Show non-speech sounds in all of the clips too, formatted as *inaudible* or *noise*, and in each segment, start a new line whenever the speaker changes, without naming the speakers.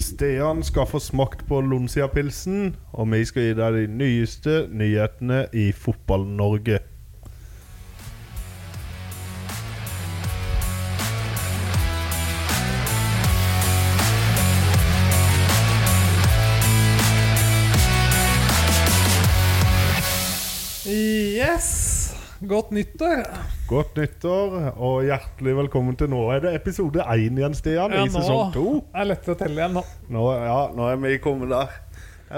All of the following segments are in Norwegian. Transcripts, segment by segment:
Stian skal få smakt på Lonsia-pilsen, og vi skal gi deg de nyeste nyhetene i Fotball-Norge.
Yes! Godt nyttår.
Godt nyttår, og hjertelig velkommen til Nå er det episode én igjen, Stian,
Ja,
i sesong to.
er det lettere å telle igjen nå.
Nå, ja, nå er vi kommet der.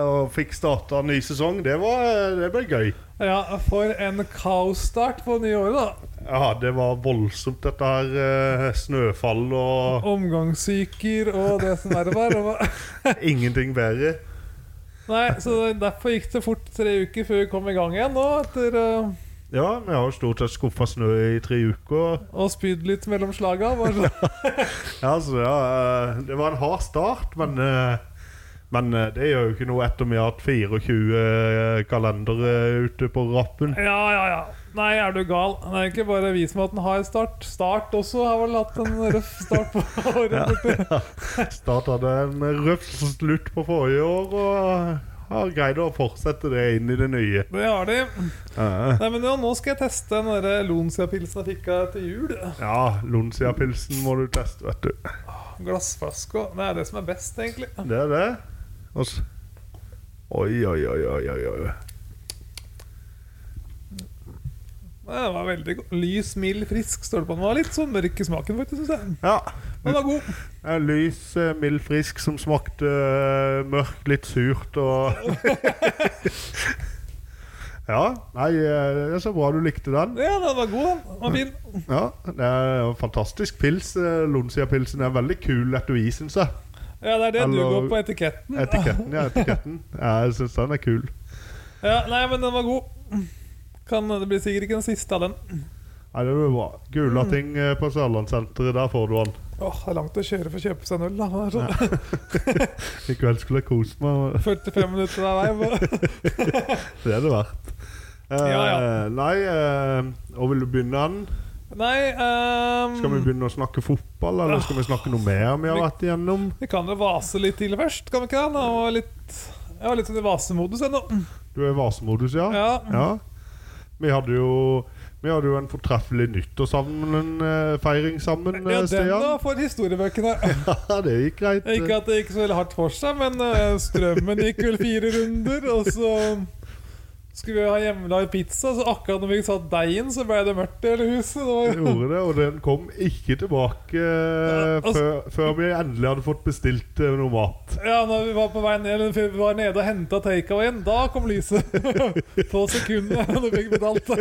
Og fikk starta ny sesong. Det, var, det ble gøy.
Ja, For en kaosstart på nye året, da.
Ja, det var voldsomt, dette her. eh, Snøfall
*laughs*
og
Omgangssyker og det som verre var. og hva- *laughs*
ingenting bedre.
Nei, så Derfor gikk det fort tre uker før vi kom i gang igjen nå, etter eh,
Ja, vi har jo stort sett skuffa snø i tre uker.
å ha spydd litt mellom slaga. Bare *laughs* så-
Ja, så ja, eh, det var en hard start, men, eh, men eh, det gjør jo ikke noe etter vi har hatt 24 kalendere eh, ute på rappen.
Ja, ja, ja. Nei, er du gal. Det er ikke bare vi som har hatt en hard start. Start også har vel hatt en røff start på *laughs* året. borte.
Starta det en røff slutt på forrige år, og eh, har greid å fortsette det inn i det nye.
Det har de.
Eh,
Nei, men ja, Nå skal jeg teste den der Lonsia-pilsen jeg fikk av til jul.
Ja, Lonsia-pilsen må du teste, vet du.
Glassflaske og Det er det som er best, egentlig.
Det er det. Og s- Oi, oi, oi, oi, oi, oi.
Det var veldig god. Lys, mild, frisk står det på. Den var litt sånn mørk i smaken, faktisk. Synes jeg.
Ja.
Men den var god.
det er Lys, eh, mild, frisk som smakte eh, mørkt, litt surt og *laughs* Ja. Nei, eh, det er så bra du likte den.
Ja, den var god, den. Den var fin.
Ja, Det er en fantastisk pils. eh, Lonsia-pilsen er veldig kul etui, syns jeg.
Ja, det er det du
Hallo.
går på etiketten.
Etiketten, ja. etiketten Ja, Jeg syns den er kul.
Ja, nei, men den var god. Kan, det blir sikkert ikke den siste av den.
Nei, det blir bra.
Mm.
Gulating eh, på Sørlandssenteret, der får du den.
Åh, det er langt å kjøre for å kjøpe seg en øl. da. Det er sånn
I kveld skulle jeg kose meg.
*laughs* 45 minutter hver vei.
*laughs* Det er det verdt. Eh,
Ja, ja.
Nei, eh, og vil du begynne den?
Nei ehm,
Skal vi begynne å snakke fotball, eller skal vi snakke noe mer vi har vært igjennom?
Vi kan jo vase litt til først, kan vi ikke det? Jeg var litt, jeg var litt sånn i vasemodus ennå.
Du er i vasemodus, ja?
Ja.
Vi hadde jo vi hadde jo en fortreffelig nyttårsfeiring sammen,
Ja,
eh,
den da,
Stian.
for historiebøkene.
*laughs* Ja, det gikk greit.
Ikke at det gikk så veldig hardt for seg, men eh, strømmen gikk vel fire runder, og så skulle vi ha hjemmelagd pizza, så akkurat når vi satt deigen, så ble det mørkt i hele huset. Det
Det
var,
gjorde det, og den kom ikke tilbake eh,
altså-
før, før vi endelig hadde fått bestilt eh, noe mat.
ja, når vi var på vei ned, eller før vi var nede og henta takeawayen, da kom lyset. *laughs* På sekundet når vi fikk betalt.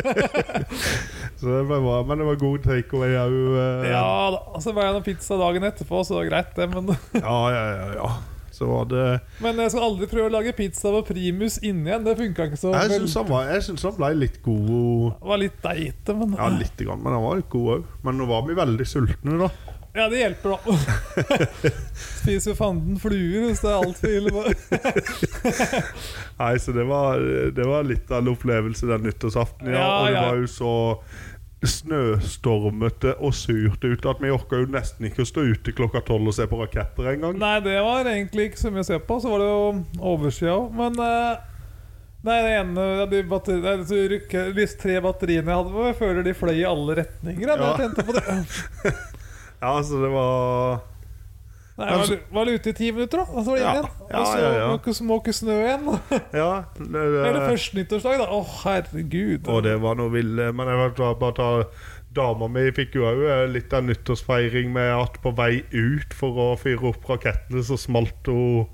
Så det ble bra, Men det var god takeaway eh. òg.
Ja da. Så ble det noen pizza dagen etterpå, så det var greit, det. Men,
ja, ja, ja, ja. Så var det
men jeg skal aldri prøve å lage pizza på primus inni en. Det funka ikke så
Jeg
vel.
syns han, var- jeg syns han ble litt god.
Det var litt deite, men
Ja, litt, grann, men han var litt god òg. Men nå var vi veldig sultne, da.
Ja, det hjelper, da.
*laughs*
Spiser jo fanden fluer hvis det er altfor ille.
Nei, Så det var, det var litt av en opplevelse den nyttårsaften. Ja,
Ja,
og det
ja.
var jo så snøstormete og surt ute at vi orka jo nesten ikke å stå ute klokka tolv og se på raketter engang.
Nei, det var egentlig ikke så mye å se på. Så var det jo overskya òg. Men eh, Nei, det ene ja, de batteri, nei, de rykke- de tre batteriene jeg hadde på, jeg føler de fløy i alle retninger. Ja.
Ja.
Jeg tente
*laughs*
på det. Nei,
Ja, så det var
jeg var, var ute i ti minutter, da. Og så var det hjem
Ja.
igjen.
Ja,
Og så
ja, ja.
må ikke- må ikke snø igjen.
*laughs* Ja. Det,
Eller
det,
første nyttårsdag, da. Å, herregud.
og det var noe ville Men jeg vil bare ta Dama mi fikk jo òg litt av nyttårsfeiring med at på vei ut for å fyre opp rakettene, så smalt hun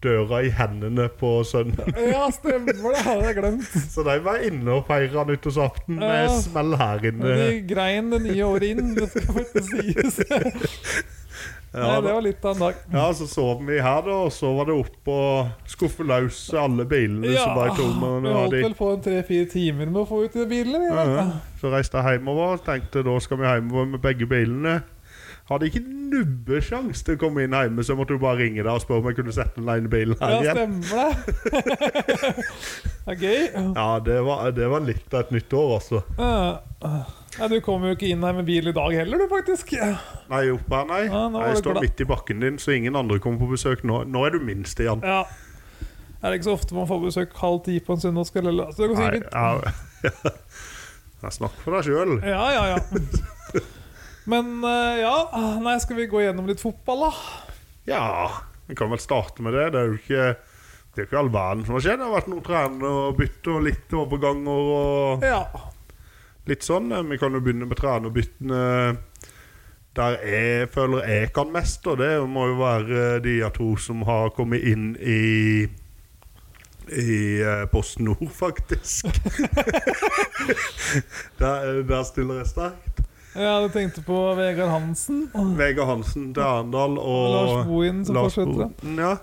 døra i hendene på sønnen.
Ja, stemmer det. Det hadde jeg glemt.
Så de var inne og feira nyttårsaften med
Ja.
smell her inne.
De grein det nye året inn. Det skal ikke *laughs* sies. Nei,
Ja,
det
da.
var litt av en dag.
ja, Så sov vi her, da, og så var det opp og skuffe løs alle bilene som var tomme.
vi
og
holdt
de-
vel på en tre-fire timer med å få ut de bilene. vi,
Ja,
da.
ja. Så reiste jeg hjemover og tenkte da skal vi hjemover med begge bilene. Hadde ikke nubbesjans til å komme inn hjemme, så jeg måtte jo bare ringe deg og spørre om jeg kunne sette den ene bilen her
Ja,
igjen.
stemmer *laughs* det. det er gøy.
Ja, det var, det var litt av et nytt år, altså.
Eh, Nei, du kom jo ikke inn her med bil i dag heller, du, faktisk. Ja,
Nei, opp her, nei.
Ja, nå var
jeg
du
står
glad.
midt i bakken din, så ingen andre kommer på besøk nå. Nå er du minst igjen.
Er det ikke så ofte man får besøk halv ti på en søndagskveld? eller? Så det går
Nei,
sikkert
ja, *laughs* Jeg snakker for deg sjøl.
Ja, ja, *laughs* ja. Men eh, ja, nei, skal vi gå gjennom litt fotball, da?
Ja, vi kan vel starte med det. Det er jo ikke det er jo ikke all verden som har skjedd. Det har vært noen trenere og bytte og litt overganger og
Ja.
litt sånn. Eh, Vi kan jo begynne med trenerbyttene der jeg føler jeg kan mest, og det må jo være de av to som har kommet inn i i eh, Post Nord, faktisk. *laughs* der, der stiller jeg sterkt.
ja, du tenkte på Vegard Hansen?
Vegard Hansen til Arendal og
Lars Bohin som
Lars
fortsetter.
Bohin, Ja.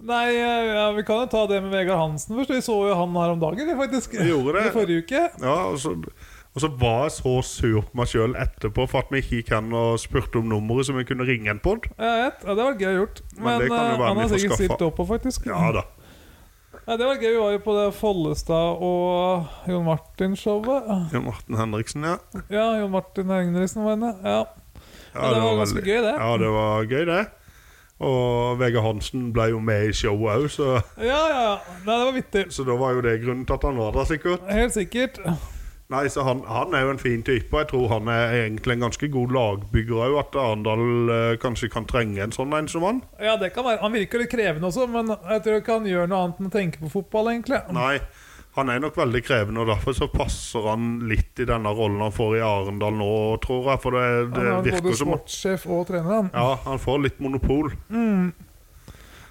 Nei, eh, ja, vi kan jo ta det med Vegard Hansen først. Vi så jo han her om dagen, vi, faktisk.
Vi gjorde det.
I forrige uke.
Ja, og så, og så var jeg så sur på meg sjøl etterpå for at vi ikke gikk hen og spurte om nummeret, så vi kunne ringe en pod.
Jeg vet, ja, Det var gøy gjort.
Men
Men,
det kan jo
eh,
være
han
vi
har
får
sikkert
skaffa.
stilt opp på, faktisk.
Ja da.
Ja, det var gøy. Vi var jo på det Follestad og Jon Martin-showet.
Jon Martin Henriksen, ja. ja,
Ja, Jon Martin Henriksen var inne. Ja. Ja, det var ganske
veldig-
gøy, det.
Ja, det var gøy, det. Og Vegard Hansen ble jo med i showet òg, så,
ja, ja. ja. Nei, det var vittig.
så da var jo det grunnen til at han var der, sikkert.
Helt sikkert.
Nei, så han, han er jo en fin type, og jeg tror han er egentlig en ganske god lagbygger òg. At Arendal eh, kanskje kan trenge en sånn en som han.
Ja, det kan være. Han virker litt krevende også, men jeg tror ikke han gjør noe annet enn å tenke på fotball, egentlig.
Nei, han er nok veldig krevende, og derfor så passer han litt i denne rollen han får i Arendal nå, tror jeg. For det,
Han
det
er både
virker som at
sportssjef og trener, han.
ja, han får litt monopol.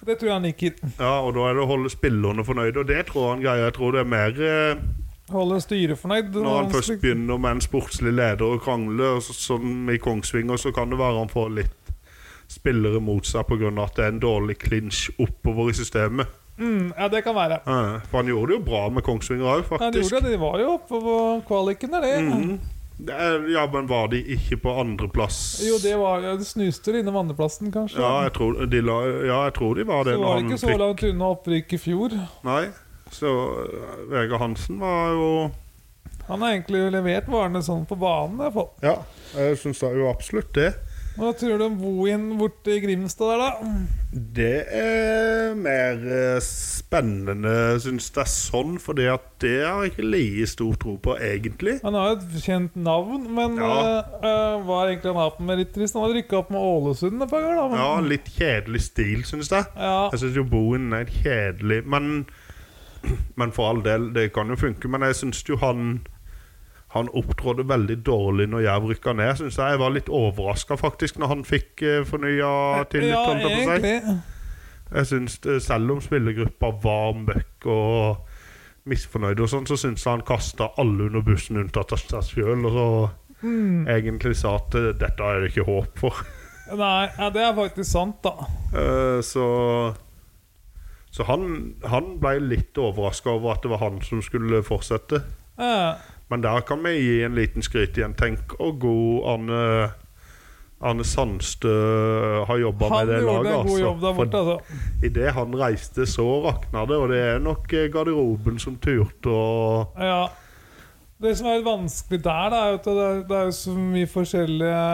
Det tror jeg han liker.
Ja, Og da er det å holde spillerne fornøyde, og det tror jeg han greier. Jeg tror det er mer eh,
Holder styret fornøyd.
når han først
slik-
begynner med en sportslig leder og krangle, og så, som i Kongsvinger, så kan det være han får litt spillere mot seg pga. at det er en dårlig clinch oppover i systemet.
Mm, ja, det kan være.
Eh, For han gjorde det jo bra med Kongsvinger òg,
Ja,
faktisk. Mhm.
de gjorde det. De var jo oppe på kvaliken, der, det.
Det er- Ja, men var de ikke på andreplass?
Jo, det var ja, det snuste det innom andreplassen, kanskje.
Ja, jeg tror de, la, ja, jeg tror de var det
så
når
var det
han
ikke så
fikk
langt unna opprykk i fjor.
Nei. Så øh, Vegard Hansen var jo
Han har egentlig levert varene sånn på banen, i hvert fall.
Ja, jeg syns jo absolutt det.
Hva tror du om Bohin borte i Grimstad der, da?
Det er mer eh, spennende, syns jeg, sånn, fordi at det har jeg ikke like stor tro på, egentlig.
Han har jo et kjent navn, men
Ja.
eh, eh, hva er egentlig han har på meritter? Han har rykka opp med Ålesund et par ganger, da. Men,
Ja, litt kjedelig stil, syns jeg.
Ja.
Jeg syns jo Bowen er kjedelig, men Men for all del, det kan jo funke. Men jeg syns jo han Han opptrådte veldig dårlig når Jerv rykka ned, syns jeg. Jeg var litt overraska, faktisk, når han fikk uh, fornya tillit.
ja,
holdt jeg på å si.
egentlig.
Jeg synes det, Selv om spillergruppa var møkk og misfornøyd og sånn, så syns jeg han kasta alle under bussen unntatt av seg sjøl, og så
Hmm.
egentlig sa at eh, dette er det ikke håp for.
Nei, ja, det er faktisk sant, da.
Eh, så så han, han ble litt overraska over at det var han som skulle fortsette.
Eh,
Men der kan vi gi en liten skryt igjen. Tenk hvor god Arne, Arne Sandstø har jobba
han
med det
gjorde
laget. altså,
en god jobb der borte, altså.
For Idet han reiste, så rakna det. Og det er nok eh, garderoben som turte og
Ja. Det som er litt vanskelig der, da, er jo at det er, det er jo så mye forskjellige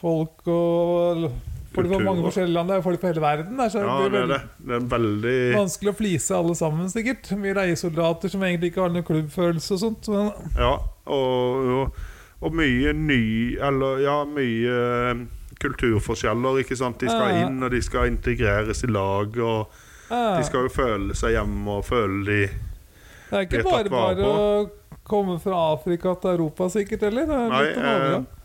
folk og Folk fra
Kulturer.
mange forskjellige land. Det er jo folk fra hele verden. Der, så
Ja,
det
det
blir
er det. Det er en veldig
veldig *laughs* vanskelig å flise alle sammen, sikkert. Mye leiesoldater som egentlig ikke har noen klubbfølelse og sånt. Men
Ja, og, og, og mye ny Eller ja, mye eh, kulturforskjeller, ikke sant. De skal
Ja.
inn, og de skal integreres i lag, og
eh,
de skal jo føle seg hjemme og føle de
Det er ikke
blir
bare
tatt vare
bare å komme fra Afrika til Europa, sikkert, heller. Det er
Nei,
litt av en
eh,
overgang.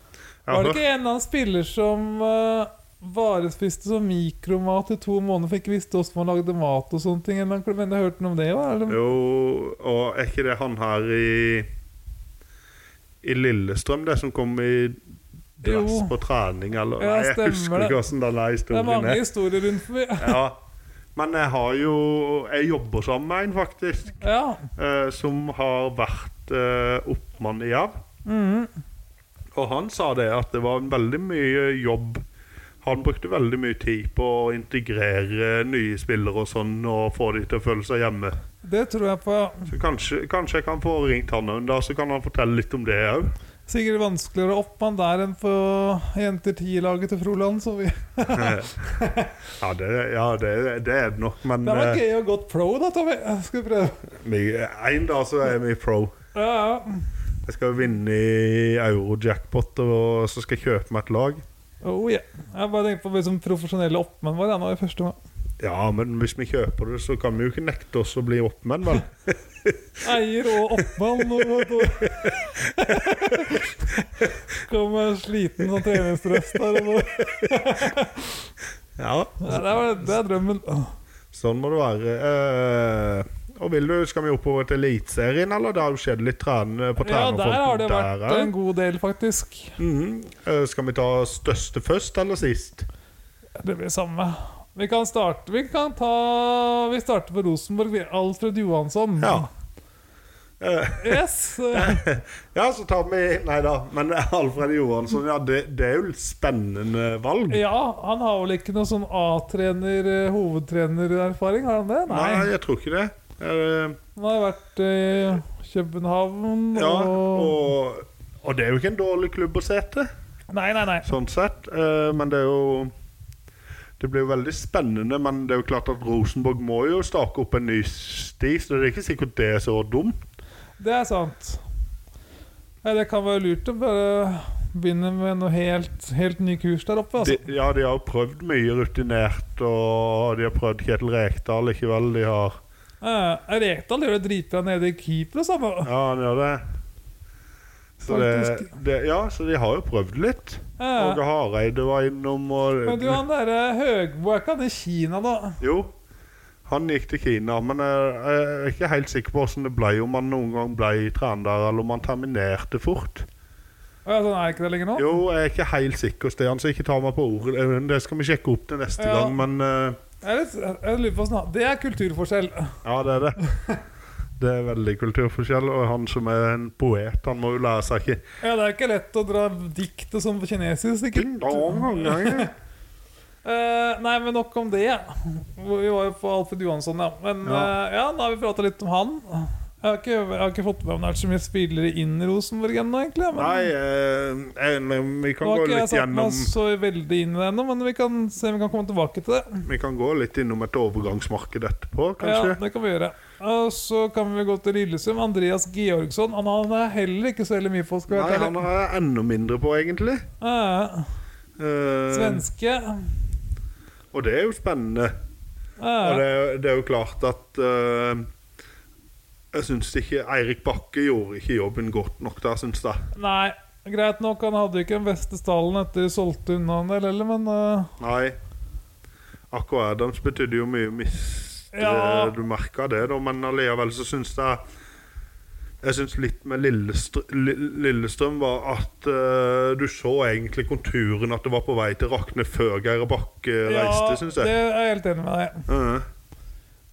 Var det ikke en eller annen spiller som uh, varespiste som mikromat i to måneder, for ikke visste hvordan man lagde mat og sånne ting? eller noe? Men jeg hørte noe om det hva? Eller?
Jo, og er ikke det han her i I Lillestrøm, det som kom i dress
Jo.
på trening, eller
Ja,
Nei, jeg
stemmer
husker
det.
ikke åssen denne
Det er
historien
mange
er.
historier rundt forbi.
Ja. Men jeg har jo Jeg jobber sammen med en, faktisk.
Ja. Mm.
eh, som har vært eh, oppmann i Jerv. Og han sa det at det var veldig mye jobb. Han brukte veldig mye tid på å integrere nye spillere og sånn, og få de til å føle seg hjemme.
Det tror jeg på. ja.
Så kanskje, kanskje jeg kan få ringt han en dag, så kan han fortelle litt om det òg.
*laughs* Sikkert vanskeligere opp man der enn på Jenter 10-laget til Froland. Så vi.
ja, det, ja det, det er det nok, men
Det var
eh,
gøy og godt pro, da, Tommy. Jeg Skal vi prøve?
vi- en dag så er vi pro.
Ja, ja.
Jeg skal vinne i euro-jackpot, og så skal jeg kjøpe meg et lag.
Oh, yeah. Jeg bare tenkte på vi som profesjonelle oppmenn våre. ja, Nå i første gang.
Ja, men hvis vi kjøper det, så kan vi jo ikke nekte oss å bli oppmenn, vel?
Eier og oppmann. Og, og, og. Kom med en sliten sånn treningsdress der. Og, og.
Ja,
*laughs* Ja, det, er, det er drømmen.
Sånn må det være. Eh, og vil du, Skal vi oppover til Eliteserien, eller? Det har jo skjedd litt trening på
Ja,
trenerfronten
der har det
der,
vært
eh.
en god del, faktisk.
Mhm. Eh, Skal vi ta største først, eller sist?
Det blir samme. Vi kan starte Vi kan ta Vi starter på Rosenborg. vi. Alfred Johansson.
Ja. Eh, *laughs*
Yes! eh,
ja, så tar vi Nei da, men *laughs* Alfred Johansson, ja, det, det er jo et spennende valg.
Ja, han har vel ikke noe sånn A-trener, eh, hovedtrenererfaring, har han det? Nei.
jeg tror ikke det. Eh,
Han har vært eh, i København
ja,
og
og, og det er jo ikke en dårlig klubb å se til.
Nei, nei, nei.
sånn sett. Eh, men det er jo Det blir jo veldig spennende, men det er jo klart at Rosenborg må jo stake opp en ny sti, så det er ikke sikkert det er så dumt.
Det er sant. Ja, det kan være lurt å bare begynne med noe helt, helt ny kurs der oppe,
De,
altså.
ja, de har jo prøvd mye rutinert, og de har prøvd Kjetil Rekdal likevel. De har
Eh, Rekdal gjør det dritbra nede i Kypros, han.
Ja, han gjør det. Så det, det. Ja, så de har jo prøvd litt.
Eh,
Åge Hareide var innom,
Men
og
du, han derre Høgbo, er ikke han i Kina, da?
Jo. Han gikk til Kina, men jeg, jeg er ikke helt sikker på hvordan det ble, om han noen gang ble trener der, eller om han terminerte fort.
Å, ja, så han er ikke det lenger nå?
Jo, jeg er ikke helt sikker, Stian, så ikke ta meg på ordet. Eh, Det skal vi sjekke opp til neste
Ja.
gang, men eh,
Jeg, er litt, jeg lurer på hvordan han- Det er kulturforskjell.
ja, det er det.
*laughs*
Det er veldig kulturforskjell, og han som er en poet, han må jo lære seg ikke
Ja, Det er ikke lett å dra diktet som på kinesisk,
Ding dong,
sikkert.
dong,
*laughs*
dong.
Eh, nei, men nok om det. Vi var jo på Alfred Johansson, ja. Men
Ja.
eh, ja, da har vi prata litt om han. Jeg har, ikke, jeg har ikke fått med meg om det er så mye spillere inn i Rosenborg ennå, egentlig. Men
Nei, eh, eh, men vi
nå
kan
har
gå
ikke jeg
litt
satt
gjennom
meg så veldig inn i det ennå, men vi kan se om vi kan komme tilbake til det.
Vi kan gå litt innom et overgangsmarked etterpå,
Ja,
kanskje.
det kan vi gjøre. Og så kan vi gå til Lillesund. Andreas Georgsson. Han han er heller ikke så veldig mye på, skal
Nei,
jeg være
han
ærlig.
har jeg enda mindre på, egentlig.
Ja,
Eh,
Svenske.
Og det er jo spennende.
Ja,
Og det, er- det er jo klart at eh, Jeg syns ikke Eirik Bakke gjorde ikke jobben godt nok der, syns jeg.
Nei, greit nok, han hadde jo ikke den beste stallen etter de solgte unna en del heller, men eh,
Nei. Akko Adams betydde jo mye mist.
Ja.
eh, Du merka det, da, men allikevel så syns jeg jeg syns litt med Lillestr Lill- Lillestrøm var at eh, du så egentlig konturen at det var på vei til å rakne før Geir Bakke reiste, syns
det
jeg.
er jeg helt enig med deg i.
Eh,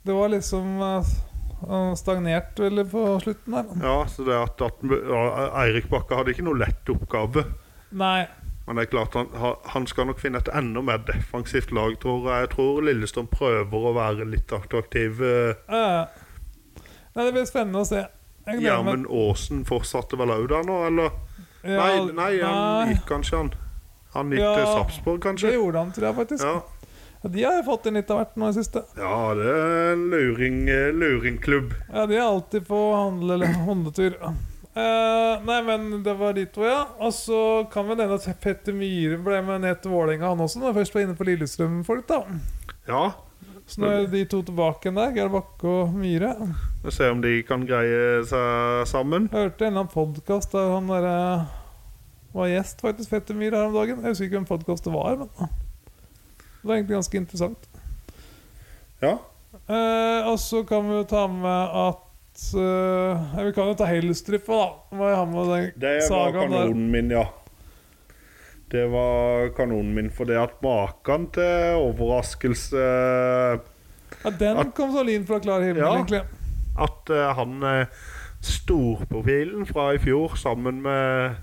Det var liksom eh, stagnert veldig på slutten der.
ja, så det at, at ja, Eirik Bakke hadde ikke noe lett oppgave.
Nei.
Men det er klart han, ha- han skal nok finne et enda mer defensivt lag, tror jeg. Jeg tror Lillestrøm prøver å være litt attraktiv. Eh,
eh, Nei, det blir spennende å se. Jeg gleder meg.
Gjermund Aasen fortsatte vel òg der nå, eller?
Ja,
nei, nei, han gikk kanskje, han. Han gikk til
Ja,
Sarpsborg,
Det
kanskje?
gjorde han, tror jeg, faktisk.
Ja.
Ja, De har jo fått inn litt av hvert nå i det siste.
ja, det er en luring, eh, luringklubb.
Ja, de er alltid på handle eller hundetur. Eh, nei, men det var de to, ja. Og så kan vi nevne at Petter Myhre ble med ned til Vålerenga, han også, når han først var inne på Lillestrøm-folk, da.
Ja.
Så nå er de to tilbake igjen der, Geir Bakke og Myhre.
Vi ser om de kan greie seg sammen.
Jeg hørte en eller annen podkast der han derre var gjest, faktisk, Petter Myhre, her om dagen. Jeg husker ikke hvem podkast det var, men det var egentlig ganske interessant.
Ja.
Eh, og så kan vi jo ta med at eh, ja, Vi kan jo ta Helstrup, da. Må jeg ha med den
Det var
sagaen der.
kanonen min, ja. Det var kanonen min for det at maken til overraskelse eh,
Ja, den kom så lyn fra klar himmel,
Ja.
egentlig.
At eh, han eh, storprofilen fra i fjor sammen med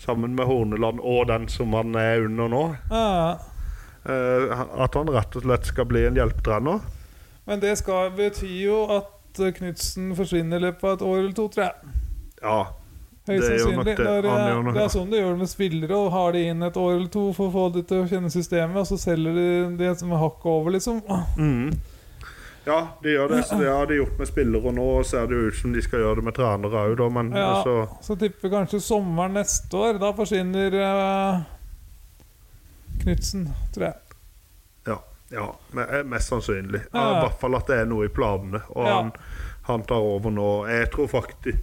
sammen med Horneland og den som han er under nå.
Ja.
Eh, at han rett og slett skal bli en hjelptrener.
Men det skal bety jo at Knutsen forsvinner i løpet av et år eller to, tror jeg.
Ja.
Høyst
Det er jo nok
sannsynlig.
det.
Når,
Han gjør
eh,
nok
det
det.
er sånn du gjør det med spillere. Og har de inn et år eller to for å få de til å kjenne systemet, og så selger de det som er hakket over, liksom.
Mhm. Ja, de gjør det. Så det har de gjort med spillere nå, og ser det jo ut som de skal gjøre det med trenere òg, da, men
Ah, Ja,
altså
Så tipper kanskje sommeren neste år. Da forsvinner eh, Knutsen, tror jeg.
Ja. ja men, eh, mest sannsynlig. Ja,
Ja.
I hvert fall at det er noe i planene, og
Ja.
han, han tar over nå. Jeg tror faktisk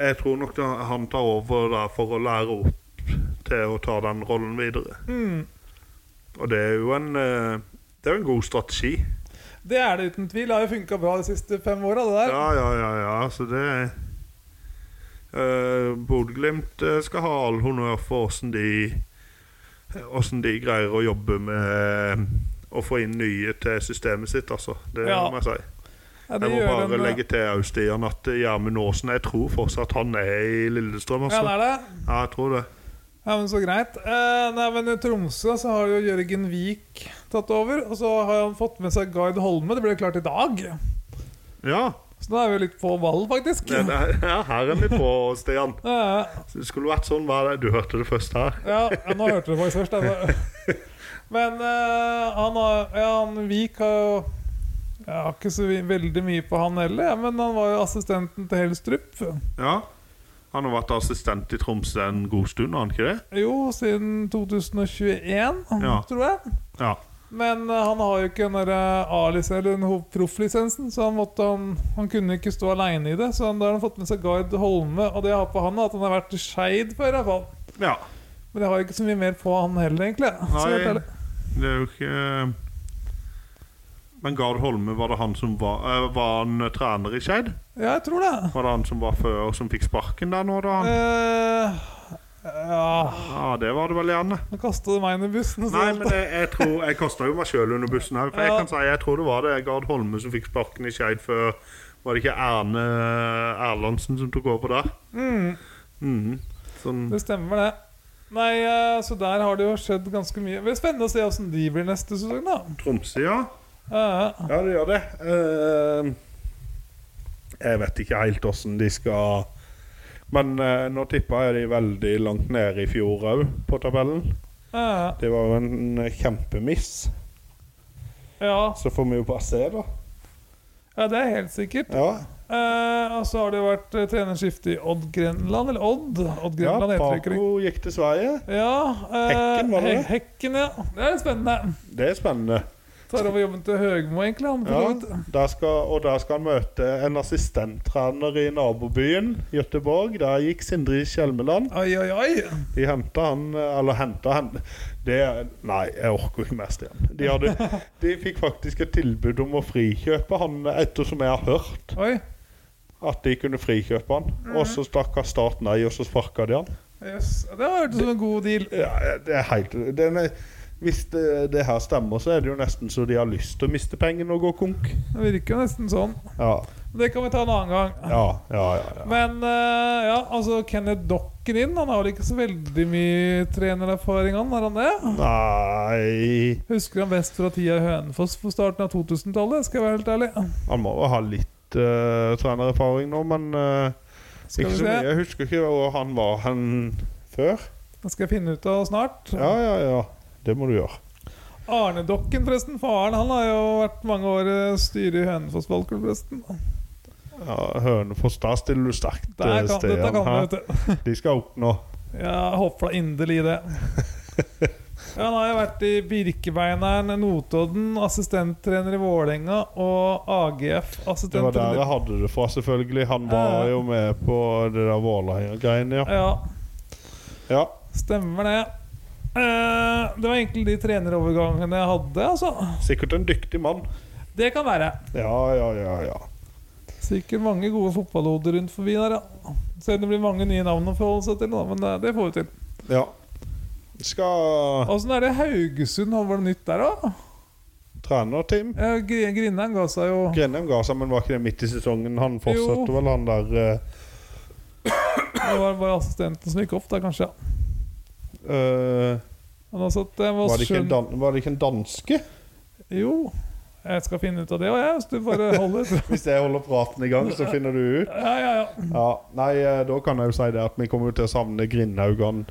Jeg tror nok da han tar over der for å lære opp til å ta den rollen videre.
Mm.
Og det er jo en eh, Det er jo en god strategi.
Det er det uten tvil. Det har jo funka bra de siste fem åra, det der.
Ja, ja, ja, ja. Så det uh, Bodø-Glimt eh, skal ha all honnør for åssen de Åssen de greier å jobbe med eh, å få inn nye til systemet sitt, altså. Det
Ja.
må jeg si.
Ja,
Jeg
de
må
gjør
bare
en- eh,
legge til også, Stian, at eh, Gjermund Aasen Jeg tror fortsatt han er i Lillestrøm. Altså.
Ja, det
Ja,
er det.
jeg tror det.
Ja, men Så greit. Eh, nei, men I Tromsø så har jo Jørgen Vik tatt over. Og så har han fått med seg Gard Holme. Det ble jo klart i dag.
Ja,
Så da er vi jo litt på ball, faktisk.
det, det, ja her er vi på, Stian.
Eh,
Det skulle vært sånn. Hva er det? Du hørte det først her.
ja, ja, nå hørte du faktisk
*laughs*
først. jeg bare- Men eh, han, har, ja, han Vik har jo Jeg har ikke så vi- veldig mye på han heller, ja, men han var jo assistenten til Helstrup.
Ja. Han har vært assistent i Tromsø en god stund, har han ikke det?
Jo, siden 2021,
Ja.
tror jeg.
Ja.
Men eh, han har jo ikke den der eh, A-lis- eller den ho- profflisensen, så han, måtte, han, han kunne ikke stå aleine i det. Så han, da har han fått med seg Gard Holme, og det jeg har på han, er at han har vært i Skeid før. i hvert fall.
ja.
Men jeg har jo ikke så mye mer på han heller, egentlig. Så helt
Nei,
ærlig.
det er jo ikke eh, Men Gard Holme, var det han som var eh, Var han trener i Skeid?
Ja, jeg tror det.
Var det han som var før, og som fikk sparken der nå, da? Han?
Eh, ja
Ja, det var det vel gjerne.
Nå kasta du meg under bussen. Så
Nei, men jeg, jeg tror Jeg kasta jo meg sjøl under bussen her. For jeg
Ja.
kan si jeg tror det var det Gard Holme som fikk sparken i Skeid før. Var det ikke Erne eh, Erlandsen som tok over der?
mm,
Mhm. Sånn
det stemmer, det. Nei, eh, så der har det jo skjedd ganske mye. Det blir spennende å se åssen de blir neste sesong, da.
Tromsø, ja.
Eh,
Ja, det gjør det. Eh, jeg vet ikke helt åssen de skal Men eh, nå tippa jeg de veldig langt nede i fjor òg, på tabellen.
eh,
Det var jo en eh, kjempemiss.
ja.
Så får vi jo bare se, da.
ja, det er helt sikkert.
Ja,
Eh, og så har det jo vært eh, trenerskifte i Odd Grenland, eller Odd? Odd
ja
Grenland heter det ikke.
Paco gikk til Sverige.
Ja, eh,
Hekken, var det det?
He- Hekken, ja. Det er litt spennende.
Det er spennende.
Tar over jobben til Høgmo, egentlig. Han, for
Ja,
så vidt.
der skal, og der skal han møte en assistenttrener i nabobyen Gøteborg. Der gikk Sindre Skjelmeland.
Oi, oi, oi.
De henta han Eller henta han det, Nei, jeg orker ikke mest igjen. De, hadde, de fikk faktisk et tilbud om å frikjøpe han, ettersom jeg har hørt
oi.
at de kunne frikjøpe han.
Mhm.
Og så stakkars Start nei, og så sparka de han.
Yes. Det har vært som en god deal.
Ja, det er helt det er, Hvis det, det her stemmer, så er det jo nesten så de har lyst til å miste pengene og gå konk.
Det virker jo nesten sånn.
Ja,
Men Det kan vi ta en annen gang.
ja, ja. ja, ja.
Men eh, ja, altså Kenneth Dokken inn. Han har vel ikke så veldig mye trenererfaring, han? Har han det?
Nei
Husker han best fra tida i Hønefoss på starten av 2000-tallet, skal jeg være helt ærlig.
Han må jo ha litt eh, trenererfaring nå, men eh,
Skal
ikke
vi
så
se.
mye. Jeg husker ikke hvor han var hen før.
Det skal jeg finne ut av snart.
Ja, ja, ja. Det må du gjøre.
Arne Dokken, forresten. Faren han har jo vært mange år eh, styre i Hønefoss ballklubb, forresten.
Ja, Hønefoss, der stiller du sterkt. eh,
Der kan,
Stian.
dette kan
Hæ?
man, vet du.
De skal opp nå.
Jeg håper da inderlig
*laughs*
det. Ja, han har jo vært i Birkebeineren, Notodden, assistenttrener i Vålerenga og AGF.
Det var der
assistenttrener
jeg hadde det fra, selvfølgelig. Han
Ja,
var
ja.
jo med på det der Vålerenga-greiene, ja.
Ja,
ja.
stemmer det. Eh, det var egentlig de trenerovergangene jeg hadde, altså.
Sikkert en dyktig mann.
Det kan være.
Ja, ja, ja. ja.
Sikkert mange gode fotballhoder rundt forbi der, ja. Selv om det blir mange nye navn å forholde seg til, da, men eh, det, det får vi til.
ja. Skal
Åssen er det Haugesund? Har vært nytt der òg?
trenerteam
Grindheim ga seg jo.
Grenheim ga seg, men var ikke det midt i sesongen? Han fortsatte
Jo.
vel, han der eh,
Det var bare assistenten som gikk opp der, kanskje. ja.
Eh,
Men altså, det var,
var, det ikke en
skjønn-
dan var det ikke en danske?
Jo, jeg skal finne ut av det òg, jeg. Hvis du bare
*laughs*
holder
Hvis jeg holder praten i gang, så
*laughs*
finner du ut.
Ja, ja, ja.
Ja, nei, eh, Da kan jeg jo si det at vi kommer jo til å savne Grindhaugan.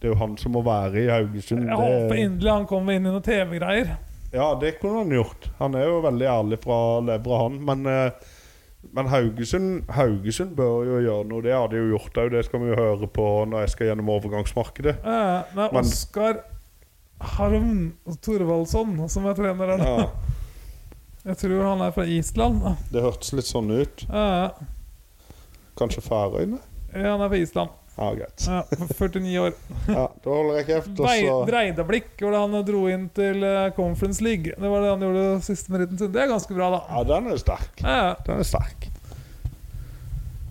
Det er jo han som må være i Haugesund.
Jeg håper
Det,
inderlig han kommer inn i noen TV-greier.
ja, det kunne han gjort. Han er jo veldig ærlig fra levra, han. Men, eh, men Haugesund, Haugesund bør jo gjøre noe. Det har de jo gjort òg. Det skal vi jo høre på når jeg skal gjennom overgangsmarkedet.
Eh, Det er
Men-
Oskar Harm Thorvaldsson som er trener der. nå.
Ja,
Jeg tror han er fra Island.
Det hørtes litt sånn ut.
Eh,
Kanskje Færøyene?
Ja, han er fra Island.
Ja, greit.
Ja, 49 år.
Ja, *laughs* Da holder jeg kjeft, og
Brei-
så
Breidablikk var det han dro inn til eh, Conference League. Det var det han gjorde siste meritten sin. Det er ganske bra, da.
Ja, den er sterk.
Eh,
Den er sterk.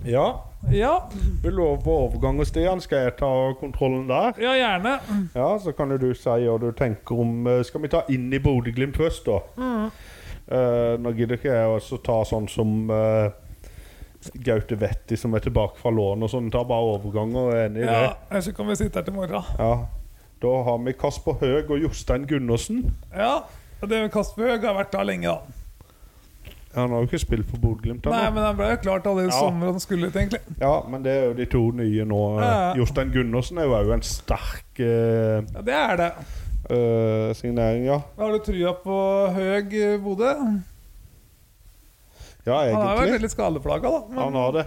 Ja,
Eh, Ja,
vi lover på overgang og Stian. Skal jeg ta kontrollen der?
ja gjerne.
Ja, så kan jo du si hva du tenker om eh, Skal vi ta inn i Bodø-Glimt først, da? Eh, nå gidder ikke jeg også ta sånn som eh, Gaute Vetti som er tilbake fra lån og sånn. Ta bare overganger, og er enig i
Ja,
det.
Ellers så kan vi sitte her til morgen.
Ja. Da har vi Kasper Høeg og Jostein Gundersen.
Ja, og det Kasper Høeg har vært der lenge, da.
Han har jo ikke spilt for Bodø-Glimt
Nei,
ennå.
men han ble jo klart allerede i
Ja.
sommer han skulle ut, egentlig.
Ja, men det er jo de to nye nå. Eh,
Ja.
Jostein Gundersen er jo òg en sterk eh,
Ja, Det er det.
eh, signering, ja.
Har du trua på Høeg i Bodø?
Ja,
Han har vært
egentlig.
litt skadeplaga, da. Men
Han har det.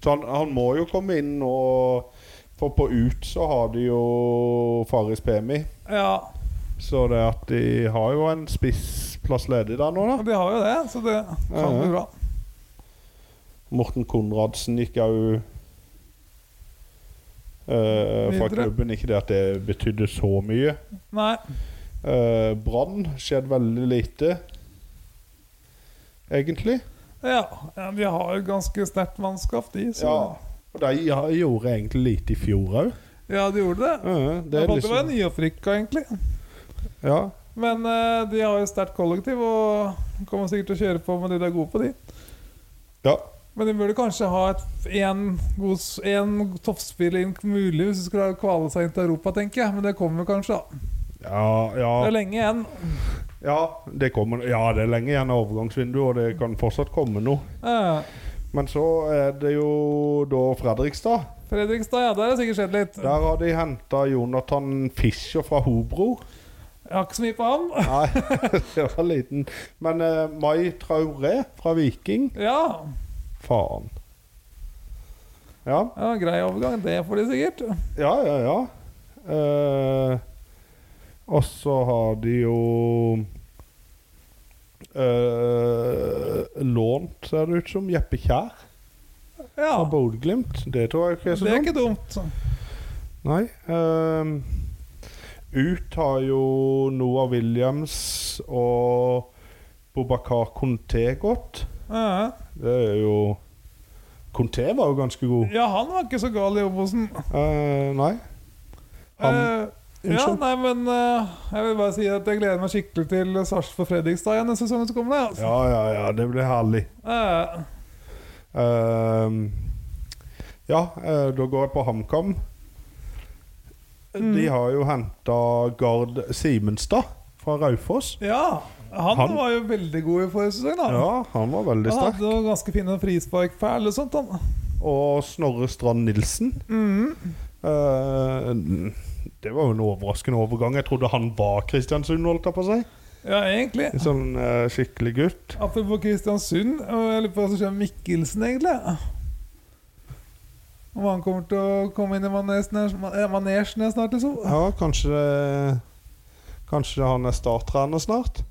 Så han, han må jo komme inn og For på ut så har de jo Faris Pemi.
ja,
Så det at de har jo en spissplass ledig der nå, da.
de har jo det, så det kan
Ja, ja.
bli bra.
Morten Konradsen gikk jo eh, fra
Videre.
klubben. Ikke det at det betydde så mye.
Nei.
Eh, Brann skjedde veldig lite, egentlig.
Ja, ja, de har jo et ganske sterkt mannskap, de. Så.
Ja. Og de har- gjorde egentlig lite i fjor òg.
Ja, de gjorde det.
det
Det,
er
var det var
liksom
nyopprykka, egentlig.
Ja.
Men eh, de har jo sterkt kollektiv og kommer sikkert til å kjøre på med de de er gode på, de.
ja.
Men de burde kanskje ha én toppspiller inn mulig hvis de skulle kvale seg inn til Europa, tenker jeg. Men det kommer kanskje, da.
Ja,
Det
ja,
er lenge igjen.
ja, det kommer, ja, det er lenge igjen av overgangsvinduet, og det kan fortsatt komme noe.
Eh,
Men så er det jo da Fredrikstad.
Fredrikstad, ja, der har det sikkert skjedd litt.
Der har de henta Jonathan Fischer fra Hobro.
Jeg har ikke så mye på han.
Nei, *laughs* det var liten. Men eh, Mai Traoré fra Viking.
Ja,
Faen. Ja.
ja grei overgang. Det får de sikkert.
Ja, ja, ja. Eh, og så har de jo eh, lånt, ser det ut som, Jeppe Kjær
Ja,
fra Bodø-Glimt. Det tror jeg ikke er så
det er
dumt.
ikke dumt.
Nei. eh, ut har jo Noah Williams og Bobakar Conté gått.
Eh,
Det er jo Conté var jo ganske god.
Ja, han var ikke så gal i Obosen.
Eh, nei. Han
Eh, ja,
Unnskyld.
nei, men eh, jeg vil bare si at jeg gleder meg skikkelig til Sarpsborg Fredrikstad igjen den sesongen som kommer. det, Altså.
Ja, ja, ja. Det blir herlig.
Eh,
Ehm, ja, eh, da går jeg på HamKam. De har jo henta Gard Simenstad fra Raufoss.
ja han,
Han-
var jo veldig god i forrige sesong, da.
Ja, han var veldig
han
sterk.
hadde jo ganske fine frisparkperler og sånt. Han.
Og Snorre Strand Nilsen. Eh, det var jo en overraskende overgang. Jeg trodde han var Kristiansund, holdt jeg på å si.
Ja, egentlig.
En sånn eh, skikkelig gutt.
Apropos Kristiansund, og jeg lurer på hva som skjer med Mikkelsen, egentlig. Om han kommer til å komme inn i manesjen her- eh, manesjen her snart, liksom.
Ja, kanskje Kanskje han er starttrener snart?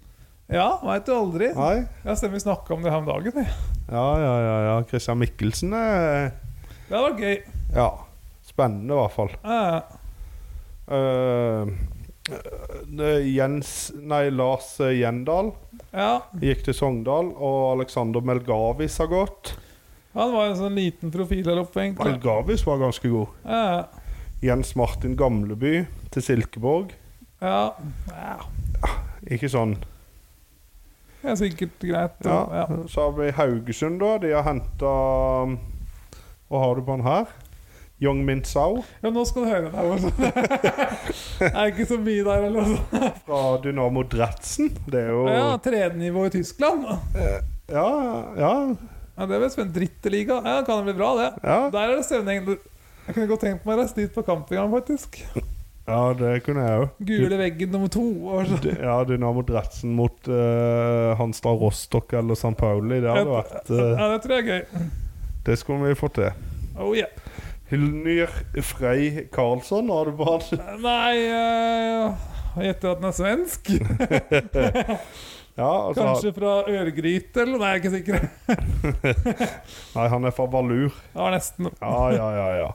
Ja, veit du aldri.
Nei?
Jeg stemmer vi snakka om det her om dagen. jeg.
Ja, ja, ja. ja. Christian Mikkelsen er
Det hadde vært gøy.
Ja. Spennende, i hvert fall.
Eh,
Eh, det- Jens Nei, Lars eh, Gjendal
ja,
gikk til Sogndal, og Alexander Melgavis har gått.
han var en sånn liten profil her oppe, egentlig.
Melgavis var ganske god.
Eh,
Jens Martin Gamleby til Silkeborg.
ja. ja.
Ikke sånn.
Det er sikkert greit.
Ja.
Ja.
Så har vi Haugesund, da. De har henta Hva har du på den her? Young Min Sao
Ja, nå skal du høre det. altså. Det *laughs* er ikke så mye der, eller noe sånt.
fra Dynamo Dratzen. Det er jo
Ja, tredje nivå i Tyskland.
Ja, ja.
Ja, Det er vel spennende. Dritteliga. Ja, kan det bli bra, det.
ja.
Der er det stemning. Jeg kunne godt tenkt meg å reise dit på kamp en gang, faktisk.
ja det kunne jeg òg.
Gule veggen nummer to. Og så.
Ja, Dynamo Dratzen mot eh, Hanstad Rostock eller San Pauli. Det hadde vært eh,
Ja, det tror jeg er gøy.
Det skulle vi fått til.
Oh yeah.
Hilnir Frey Karlsson har du på han.
Nei eh, Jeg gjetter at den er svensk.
Ja, altså,
Kanskje fra Ørgryte, eller? Nei, jeg er ikke sikker.
nei, han er fra Valur.
Det var nesten.
Ja, ja, ja, ja.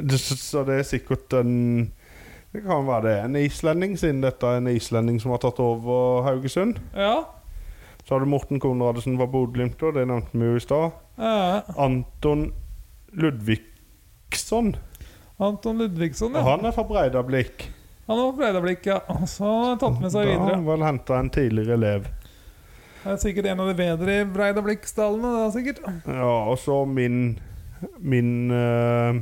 Det, så- så det er sikkert en Det kan være det er en islending, siden dette er en islending som har tatt over Haugesund.
Ja.
Så har du Morten Konradsen fra Bodø-Glimt, og det nevnte vi jo i stad.
Eh,
Anton Ludvigsson.
Anton Ludvigsson, ja.
Han er fra Breidablikk.
Han var på Breidablikk, ja. Og Så har han tatt med seg
Da har
videre.
han vel henta en tidligere elev.
Det er sikkert en av de bedre i Breidablikk-stallene. det er sikkert.
Ja, og så min Min eh,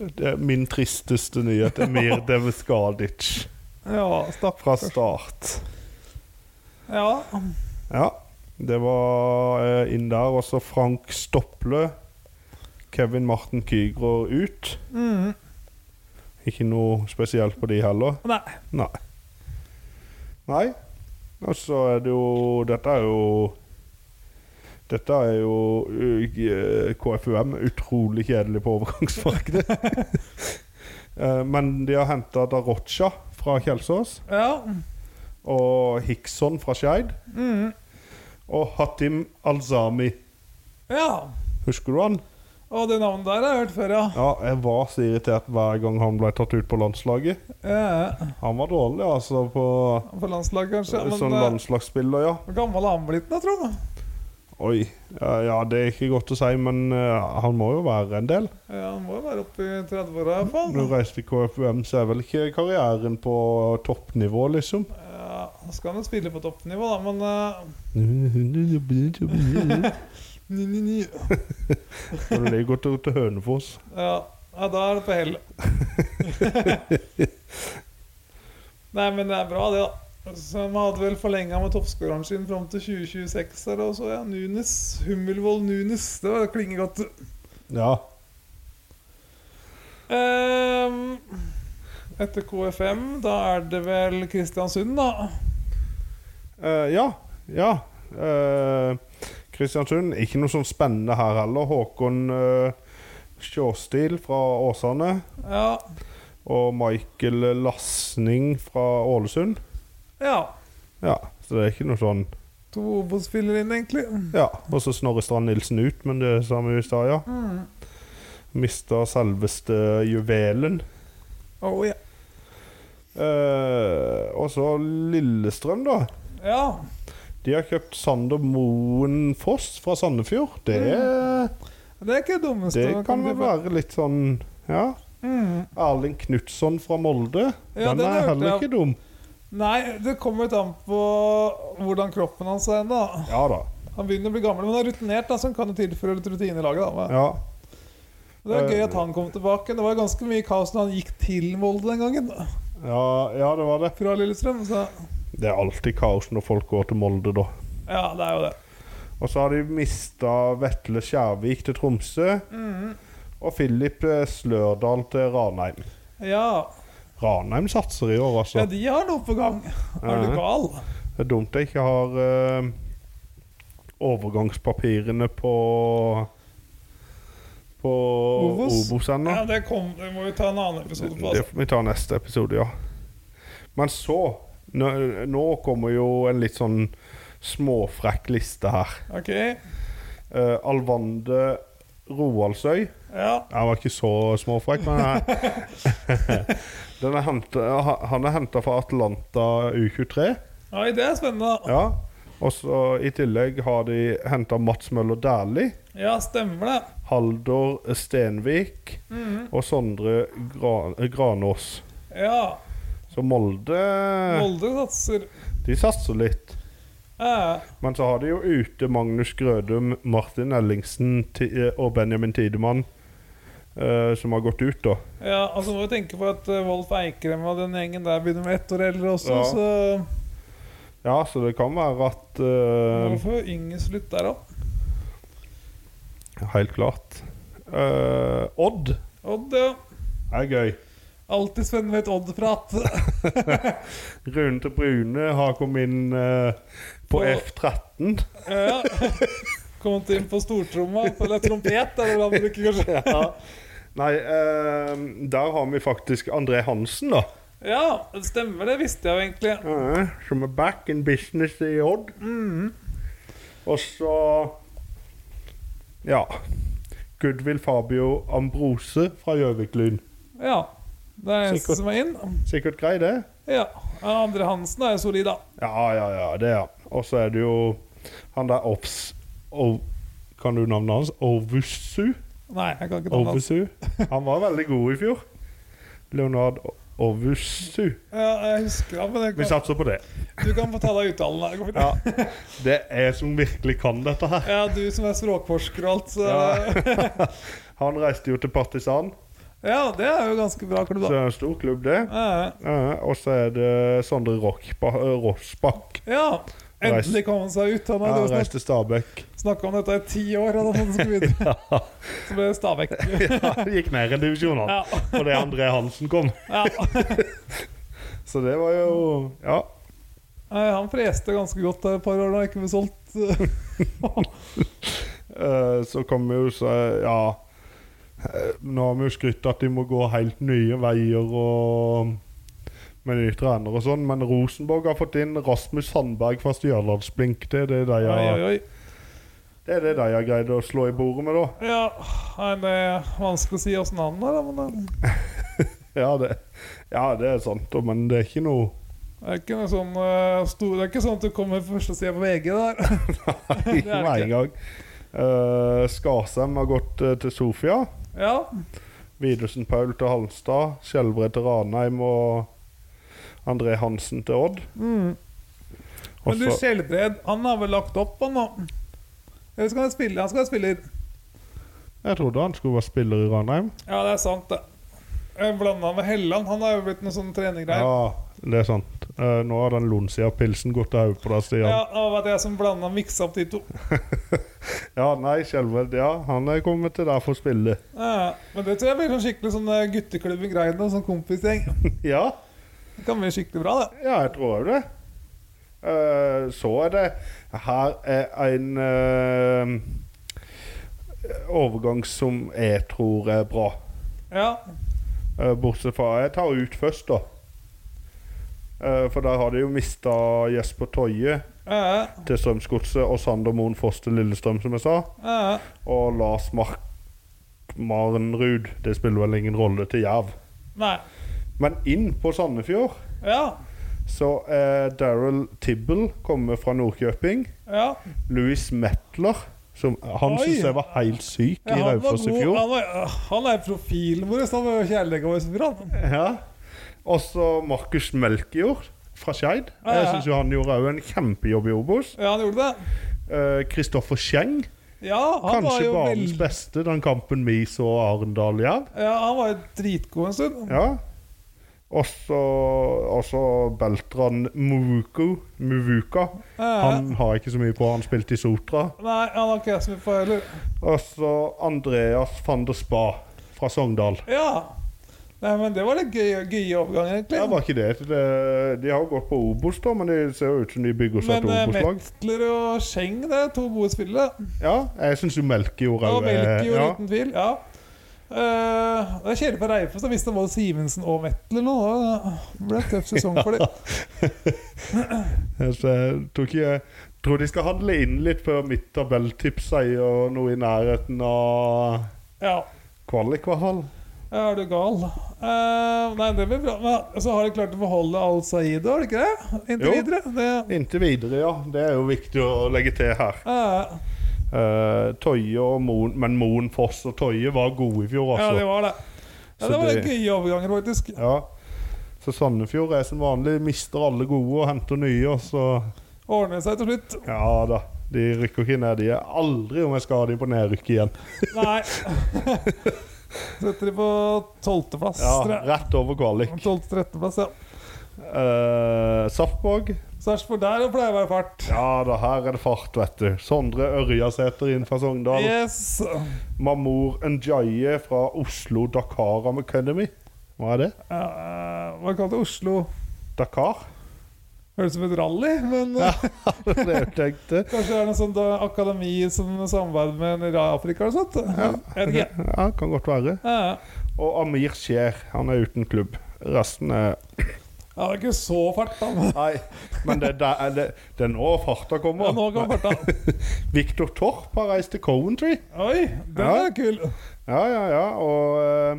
det er Min tristeste nyhet er Mir Devskadic
Ja, stapp.
fra start.
Ja.
Ja, det var eh, inn der. Og så Frank Stopple. Kevin Martin Kygror ut.
Mm.
Ikke noe spesielt på de heller.
Nei.
Nei. Nei. Og så er det jo Dette er jo Dette er jo uh, KFUM utrolig kjedelig på overgangsmarkedet. Eh, Men de har henta Darocha fra Kjelsås
Ja.
og Hickson fra Skeid.
Mm.
Og Hatim Alzami.
Ja.
Husker du han?
Og det navnet der har jeg hørt før, ja.
Ja, jeg var så irritert hver gang han ble tatt ut på landslaget.
ja.
Han var dårlig, altså, på
På landslaget, kanskje.
Sånn
Men eh,
landslagsspiller, ja.
hvor gammel er han blitt, da, Trond?
Oi. Ja, ja, det er ikke godt å si, men eh, han må jo være en del.
Ja, han må jo være oppe i 30-åra, i hvert
Når du
fall.
reiser til KFUM, så er vel ikke karrieren på toppnivå,
*laughs*
liksom.
Ja, nå skal han jo spille på toppnivå, da, men eh,
Når
ni, ni, ni.
det ligger godt til Hønefoss.
Ja, ja, da er det på hell. *laughs* Nei, men det er bra, det, da. Så De hadde vel forlenga med toppskåreren sin fram til 2026. Her, og så, ja, Nunes. Hummelvold Nunes. Det var klinger godt.
Ja.
Ehm, etter KFM, da er det vel Kristiansund, da.
Eh, ja. Ja. Eh, Kristiansund. Ikke noe sånn spennende her heller. Håkon uh, Sjåstil fra Åsane.
Ja.
Og Michael Lasning fra Ålesund.
ja.
Ja, så det er ikke noe sånn
To Obos-spillere inn, egentlig.
Ja, og så Snorre Strand Nilsen ut, men det sa vi jo i stad, ja.
Mm.
Mista selveste juvelen.
Oh, ja.
Eh, og så Lillestrøm, da.
ja.
De har kjøpt Sander Moen Foss fra Sandefjord. Det,
Det er ikke det dummeste.
det
man
kan vel
bli-
være litt sånn Ja.
Mm.
Erling Knutson fra Molde.
Ja,
den,
den
er
hørte
heller
jeg.
ikke dum.
Nei, det kommer litt an på hvordan kroppen hans er ennå.
Ja da.
Han begynner å bli gammel, men han er rutinert, da, så han kan jo tilføre litt rutine i laget. Da. Men
Ja.
Det er gøy at han kom tilbake. Det var jo ganske mye kaos når han gikk til Molde den gangen. da,
Ja, ja, det var det.
Fra Lillestrøm. Så
Det er alltid kaos når folk går til Molde, da.
ja, det er jo det.
Og så har de mista Vetle Skjærvik til Tromsø.
Mm.
Og Filip eh, Slørdal til Ranheim.
Ja,
Ranheim satser i år, altså.
ja de har noe på gang. Er du
Ja.
gal?
Det er dumt jeg ikke har eh, overgangspapirene på På
Obos?
Obos ennå.
Ja, det, kom, det må vi ta en annen episode på.
Det
Altså.
får vi ta neste episode, ja. Men så Nå, nå kommer jo en litt sånn småfrekk liste her.
Ok.
Eh, Alvande Roaldsøy.
Ja.
Jeg var ikke så småfrekk, men jeg, *laughs* den er hentet- han er henta fra Atlanta U23.
Oi, det er spennende.
Ja. Og så i tillegg har de henta Mats Møller Dæhlie,
Ja, stemmer det.
Haldor Stenvik
Mhm.
og Sondre Gra Granås.
Ja.
Så Molde,
Molde satser.
De satser litt.
Ja.
Men så har de jo ute Magnus Grødum, Martin Ellingsen Ti- og Benjamin eh, Tidemann eh, som har gått ut, da.
Ja, altså må vi tenke på at eh, Wolf Eikrem og den gjengen der begynner med ett år eldre også,
Ja.
så
Ja, så det kan være at
må
eh,
vi få Yngves litt der òg.
Helt klart. Eh, Odd
Odd, ja.
er gøy.
Alltid spennende med et Odd-prat. *laughs*
Rune til Brune har kommet inn eh, på
På-
F13.
Ja. Kommet inn på stortromma, eller trompet, er det hva man bruker, kanskje.
Ja. Nei, eh, der har vi faktisk André Hansen, da.
Ja, det stemmer det, visste jeg jo egentlig.
Eh, Som er back in business i Odd. Mm. Og så Ja. Goodwill Fabio Ambrose fra Gjøvik-Lyn.
Ja. Det er eneste
Sikkert.
som er inn.
Sikkert grei, det? da.
Ja. ja, Andre Hansen er jo solid, da.
Ja, ja, ja, det, ja. Og så er det jo han der Ops... O- kan du navnet hans? Ovusu?
Nei, jeg kan ikke ta den.
Ovusu? Han var veldig god i fjor. Leonard O- Ovusu.
Ja, jeg husker han, men jeg
Vi
kan,
satser på det.
du kan få ta deg uttalen. da, Det går fint.
Ja, det er jeg som virkelig kan dette her.
Ja, du som er språkforsker og alt, så
Han reiste jo til Partisan,
Ja, det er jo ganske bra klubb,
så det
da.
er en stor klubb, det.
Ja,
Eh, og så er det Sondre Rockba- eh, Rossbakk.
Ja. Endelig kom han seg ut. Han
Han
hadde
reiste til *laughs* Stabekk.
snakka om dette i ti år. Han hadde skulle videre. Så ble det Stabæk.
Ja, det gikk ned en divisjon, han.
Ja.
Fordi André Hansen kom.
ja.
*laughs* Så det var jo Ja.
Nei, Han freste ganske godt der et par år da, ikke ble solgt.
Eh, så kom vi jo så Ja. Eh, Nå har vi jo skrytt at de må gå helt nye veier og med nye trenere og sånn, men Rosenborg har fått inn Rasmus Sandberg fra Stjørdalsblink. Det er det de
Oi,
har
oi, oi.
Det er det de har greid å slå i bordet med, da.
Ja, nei, det er vanskelig å si åssen han er, da, men eh, det
Ja, det, ja, det er sant, da, men det er ikke noe *laughs*
er ikke noe sånn eh, stor Det er ikke sånn at du kommer på første side på VG der.
Nei,
*laughs* det er det
med en gang. Eh, Skarsheim har gått eh, til Sofia.
Ja,
Widersen Paul til Halmstad. Skjelbred til Ranheim og André Hansen til Odd. Og
Men du,
så-
Skjelbred, han har vel lagt opp, han nå? Eller skal han spille? Han skal være spiller.
jeg trodde han skulle være spiller i Ranheim.
Ja, det er sant, det. Jeg blanda han med Helland. Han har jo blitt noe sånn trenergreier.
Ja, det er sant. Eh, nå har den Lonsia-pilsen gått til hodet på deg, Stian. Ja,
Ja, det var det jeg som blanda og miksa opp de to.
nei, Skjelbred, ja. Han er kommet til der for å spille. *laughs*
Ja, men det tror jeg blir sånn skikkelig sånn eh, gutteklubb i Greina, sånn kompisgjeng.
ja.
Det kan bli skikkelig bra, det.
Ja, jeg tror jo det. Eh, så er det Her er en eh, overgang som jeg tror er bra.
Ja.
Eh, bortsett fra Jeg tar ut først, da. Eh, for der har de jo mista Jesper Toje
ja,
til Strømsgodset og Sander Moen Foss til Lillestrøm, som jeg sa.
ja.
Og Lars Mark Marenrud. Det spiller vel ingen rolle til Jerv.
Nei.
Men inn på Sandefjord
Ja.
så er Daryl Tibble kommer fra Nordkjøping.
Ja.
Louis Metler, som han
Oi.
synes jeg var helt syk
Ja,
i
han, var
Raufoss i
god,
fjor.
han, var, han er profilen vår. så Han var jo kjærligheten vår. som brann.
Ja. Og så Markus Melkejord fra Skeid.
Ja, ja.
Jeg synes jo han gjorde òg en kjempejobb i Obos.
Ja, han gjorde det.
Eh, Kristoffer Schjeng,
Ja, han var
kanskje
jo
banens
veldig
beste den kampen vi så Arendal ja.
ja, Han var jo dritgod en stund.
ja. Og så og så Beltran Muvuku, Muvuka.
Ja.
Han har jeg ikke så mye på, han spilte i Sotra.
Nei, han har ikke jeg så mye på heller.
Og så Andreas van der Spa fra Sogndal.
Ja. Nei, men det var litt gøy, gøy overgang, egentlig.
Ja, var ikke det. det de har jo gått på Obos, da, men de ser jo ut som de bygger seg
men
et
eh,
Obos-lag.
Metler og Scheng, det er to gode spillere.
Ja, jeg syns jo Melkejord
Og
òg
Melky, jo,
ja.
uten tvil. Ja. Eh, det er kjedelig for Reifoss. Jeg visste både Simensen og Metler nå. Det ble en tøff sesong for dem.
*laughs* Så jeg tror ikke jeg tror de skal handle inn litt før mitt tabelltips sier noe i nærheten av
Ja.
kvalik, i hvert fall.
Ja, Er du gal? Eh, nei, det blir bra. Men så har de klart å beholde Al Said, har de ikke det? Inntil
Jo.
videre. Det,
Inntil videre, ja. Det er jo viktig å legge til her.
eh,
Eh, Toje og Moen Men Moen, Foss og Toje var gode i fjor,
ja,
altså.
det var det. Ja,
Så
det var
det-
litt gøye overganger, faktisk.
Ja, Så Sandefjord er som vanlig mister alle gode og henter nye, og så
Ordner seg til slutt.
Ja da. De rykker ikke ned. De er aldri om jeg skal ha dem på nedrykk igjen.
Nei. *laughs* Setter de på tolvteplass.
Ja, rett over kvalik.
Tolvte-trettendeplass, ja.
Eh, Sarpsborg.
Sarpsborg der det pleier å være fart.
Ja da, her er det fart, vet du. Sondre Ørjasæter inn fra Sogndal.
Yes.
Mamour Njaye fra Oslo Dakar Am Academy. Hva er det?
Ja, eh, hva kalte det Oslo?
Dakar? *laughs*
Høres ut som et rally, men eh,
Ja. det er det jeg tenkte.
kanskje det er noe sånt da, akademi som samarbeider med en i Afrika eller sånt. eh. Jeg vet ikke.
Ja, kan godt være.
Ja, ja.
Og Amir Skjær. Han er uten klubb. Resten er
Ja, det er ikke så fart, da.
*laughs*
men-
Nei, men det, er der- er det, det er nå farta
Ja,
kommer.
nå kan farta.
Viktor Torp har reist til Coventry.
Oi, den
Ja.
er kul.
Ja, ja, ja. Og eh,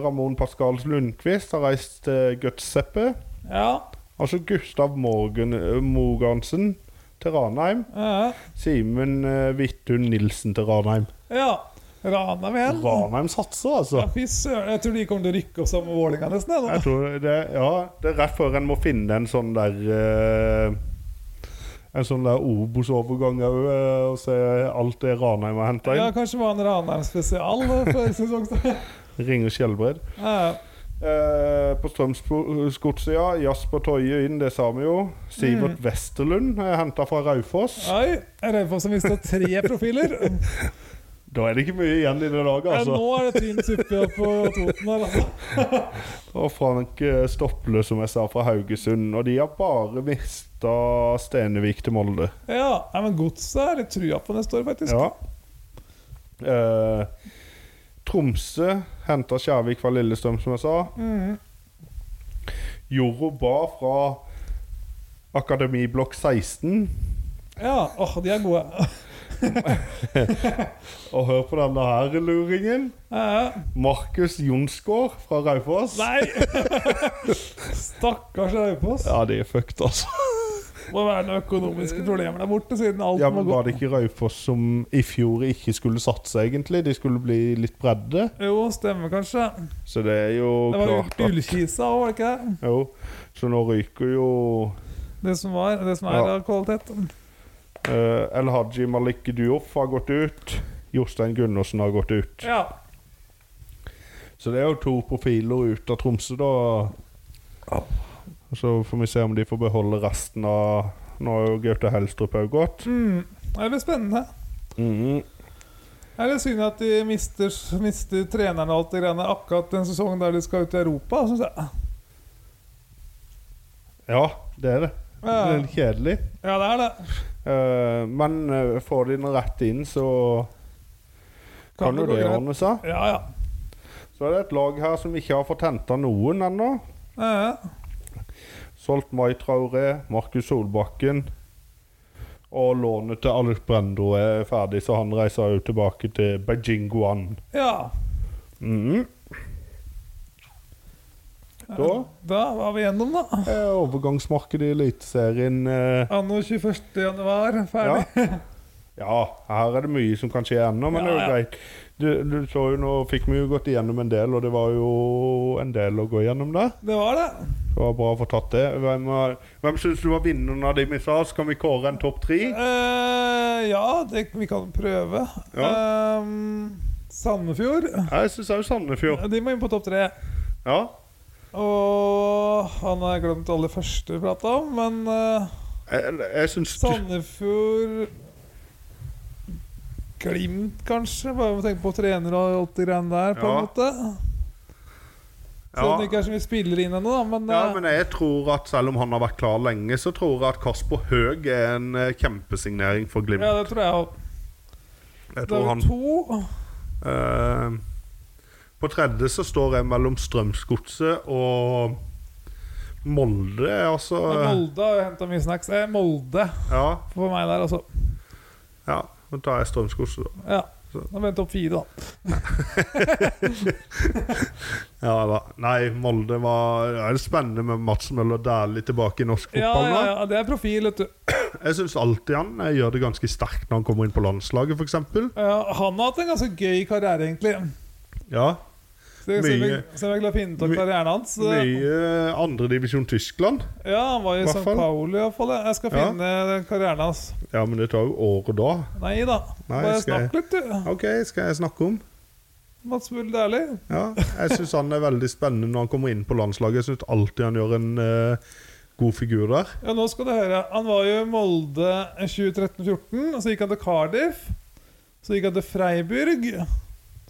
Ramón Pascal Lundqvist har reist til Gutseppe.
Ja.
Altså Gustav Morgan, Mogansen til Ranheim.
Ja.
Simen eh, Hvithun Nilsen til Ranheim.
ja. Ranheim igjen.
Ranheim satser, altså.
Ja, fy søren. Jeg tror de kommer til å rykke opp sammen med Vålerenga nesten. jeg,
Jeg
nå.
tror det, ja, det er rett før en må finne en sånn der eh, En sånn der Obos-overgang òg, eh, og se alt det Ranheim har henta
Ja,
inn.
kanskje var en Ranheim spesial eh, for sesongstart.
Ringer Skjelbred.
Ja.
Eh, på Strømsgodset, Jasper Toje inn, det sa vi jo.
Mm.
Sivert Westerlund er henta fra Raufoss.
Oi, jeg er redd for at vi mista tre
*laughs*
profiler.
Da er det ikke mye igjen i det laget,
Ja,
altså.
nå er det tynn suppe på Toten her, altså.
Og Frank eh, Stopple, som jeg sa, fra Haugesund. Og de har bare mista Stenevik til Molde.
Ja, nei, men Godset er litt trua på neste år, faktisk.
Ja. Eh, Tromsø henta Skjærvik fra Lillestrøm, som jeg sa.
Mhm.
Joro Ba fra Akademiblokk 16.
Ja, åh, de er gode. *laughs*
Og hør på denne her luringen.
Ja, ja.
Markus Jonsgaard fra Raufoss.
Nei! *laughs* Stakkars Raufoss.
Ja, de er fucked, altså.
Må være noen økonomiske problemer der borte, siden alt
Ja,
må
men
gå
Var det ikke Raufoss som i fjor ikke skulle satse, egentlig? De skulle bli litt bredde.
Jo, stemmer kanskje.
Så det er jo
Det var jo
klart at
Ullkisa òg, var det ikke det?
Jo. Så nå ryker jo
Det som var, det som er
Ja.
av kvalitet.
eh, El Haji Malik Duoff har gått ut. Jostein Gundersen har gått ut.
Ja.
Så det er jo to profiler ut av Tromsø, da. Og så får vi se om de får beholde resten av Nå har jo Gaute Helstrup òg gått.
Mm. Det blir spennende. Mm.
Mhm.
Det er litt synd at de mister, mister trenerne og alt det greiene akkurat den sesongen der de skal ut i Europa, syns jeg.
Ja, det er det. Det
Ja.
er litt kjedelig.
Ja, det er det.
Eh, men eh, får de den rett inn, så kan, jo
gå
det
greit.
ordne seg.
Ja, ja.
Så er det et lag her som ikke har fått henta noen ennå.
Ja, ja.
Solgt Mai Traoré, Markus Solbakken. Og lånet til Alf Brendo er ferdig, så han reiser jo tilbake til Beijing Guan.
ja.
Mhm. Da
Da var vi gjennom, da.
er overgangsmarkedet i Eliteserien eh,
Anno 21. januar, ferdig.
Ja. *laughs* ja, her er det mye som kan skje ennå, men det er
Ja,
jo
ja.
greit. Du, du så jo nå fikk vi jo gått igjennom en del, og det var jo en del å gå igjennom der.
*laughs* Det var det.
Det var bra å få tatt det. Hvem, er- hvem syns du var vinneren av de vi sa? Så kan vi kåre en topp tre?
Eh, ja, det, vi kan prøve. Ehm, Sandefjord.
Jeg syns òg Sandefjord.
De må inn på topp tre.
Ja.
Og han har jeg glemt alle første vi prata om, men eh,
Jeg, jeg syns
Sånn, Sandefjord Glimt, kanskje? Bare med å tenke på trenere og alt det greiene der, på
Ja.
en måte. Selv om
Ja.
det ikke sånn er så mye spillere inn ennå, da, men,
ja,
eh,
men jeg tror at selv om han har vært klar lenge, så tror jeg at Kasper Høeg er en eh, kjempesignering for Glimt.
ja, det tror jeg òg.
Jeg
Da
tror
er
han
vi to.
Eh, på tredje så står jeg mellom Strømsgodset og Molde, altså.
Men Molde har henta mye snacks. Eh, Molde
Ja,
for meg der, altså.
ja. Nå tar jeg Strømsgodset, da.
Ja. Da ble det topp fire, da.
Ja da. Nei, Molde var ja, Det er spennende med Mats Møller Dæhlie tilbake i norsk
Ja,
fotball nå.
ja, ja, det er profil, vet du.
Jeg syns alltid han eh, gjør det ganske sterkt når han kommer inn på landslaget, f.eks.
Ja, han har hatt en ganske gøy karriere, egentlig.
Ja.
Så jeg, så jeg,
Mye-
så jeg er glad for å finne ut av
my-
karrieren hans.
Mye andredivisjon Tyskland.
Ja, han var i
Hva
San
faen?
Paolo, iallfall. Jeg skal
Ja.
finne karrieren hans.
Ja, men det tar jo året da.
Nei da.
Nei,
Bare
skal jeg-
snakk litt, du.
OK, skal jeg snakke om?
Mats Bull Dæhlie.
Ja, jeg syns han er veldig spennende når han kommer inn på landslaget. Jeg syns alltid han gjør en eh, god figur der.
Ja, nå skal du høre. Han var jo i Molde 2013-14. Så gikk han til Cardiff. Så gikk han til Freiburg.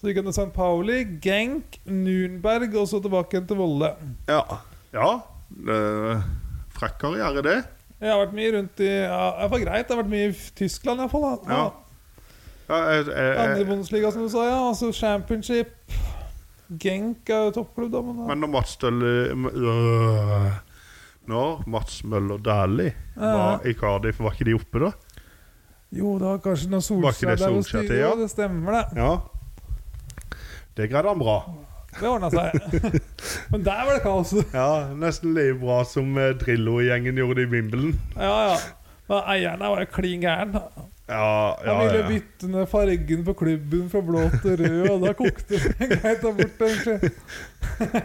Så gikk han til St. Pauli, Genk, Nürnberg og så tilbake igjen til Volde.
Ja. ja eh, frekk karriere, det.
Jeg har vært mye rundt i ja, Det var greit. Jeg har vært mye i Tyskland, iallfall. Ja.
Ja. eh, Ja, jeg, jeg,
Andre
jeg,
Bundesliga, som du sa, ja. Altså Championship. Genk er jo toppklubb, da. Men,
men når Mats Dølle øh, Når Mats Møller Dæhlie var i Cardiff, var ikke de oppe da?
Jo, det var kanskje noen
Var ikke
Solskjær
det
der og
Solskjær til,
styrer,
ja?
ja. Det stemmer, det.
Ja. Det greide han bra.
Det ordna
*laughs*
seg. Men der var det kaos.
Ja, Nesten like bra som eh, Drillo-gjengen gjorde i Wimbledon.
Ja, ja. Men eieren der var jo klin gæren.
Ja,
Han ville bytte ned fargen på klubben fra blå til rød, og da kokte det *laughs* greit der borte. egentlig.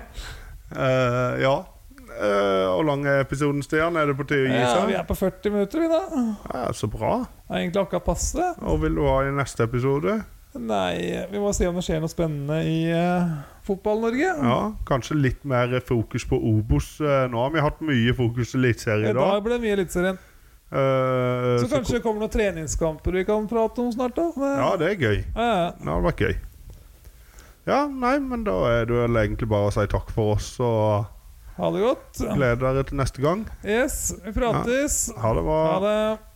Eh, ja. Eh, Hvor lang er episoden, Stian? Er det på tide å gi
Ja,
seg?
vi er på 40 minutter, vi, da.
Ja, så bra.
Det er egentlig akkurat passe.
Og vil du ha i neste episode?
Nei, vi må se om det skjer noe spennende i eh, Fotball-Norge.
Ja, Kanskje litt mer fokus på Obos. Eh, Nå har vi hatt mye fokus i Eliteserien
I
i
dag
dag.
ble det mye Eliteserien.
Eh,
Så kanskje det kommer noen treningskamper vi kan prate om snart, da.
Ja,
Det-
det er gøy.
Ja, ja.
Det hadde vært gøy. Ja, nei, men da er det vel egentlig bare å si takk for oss, og
Ha det godt.
gleder dere til neste gang.
Yes, vi prates.
Ha det bra.
Ha det.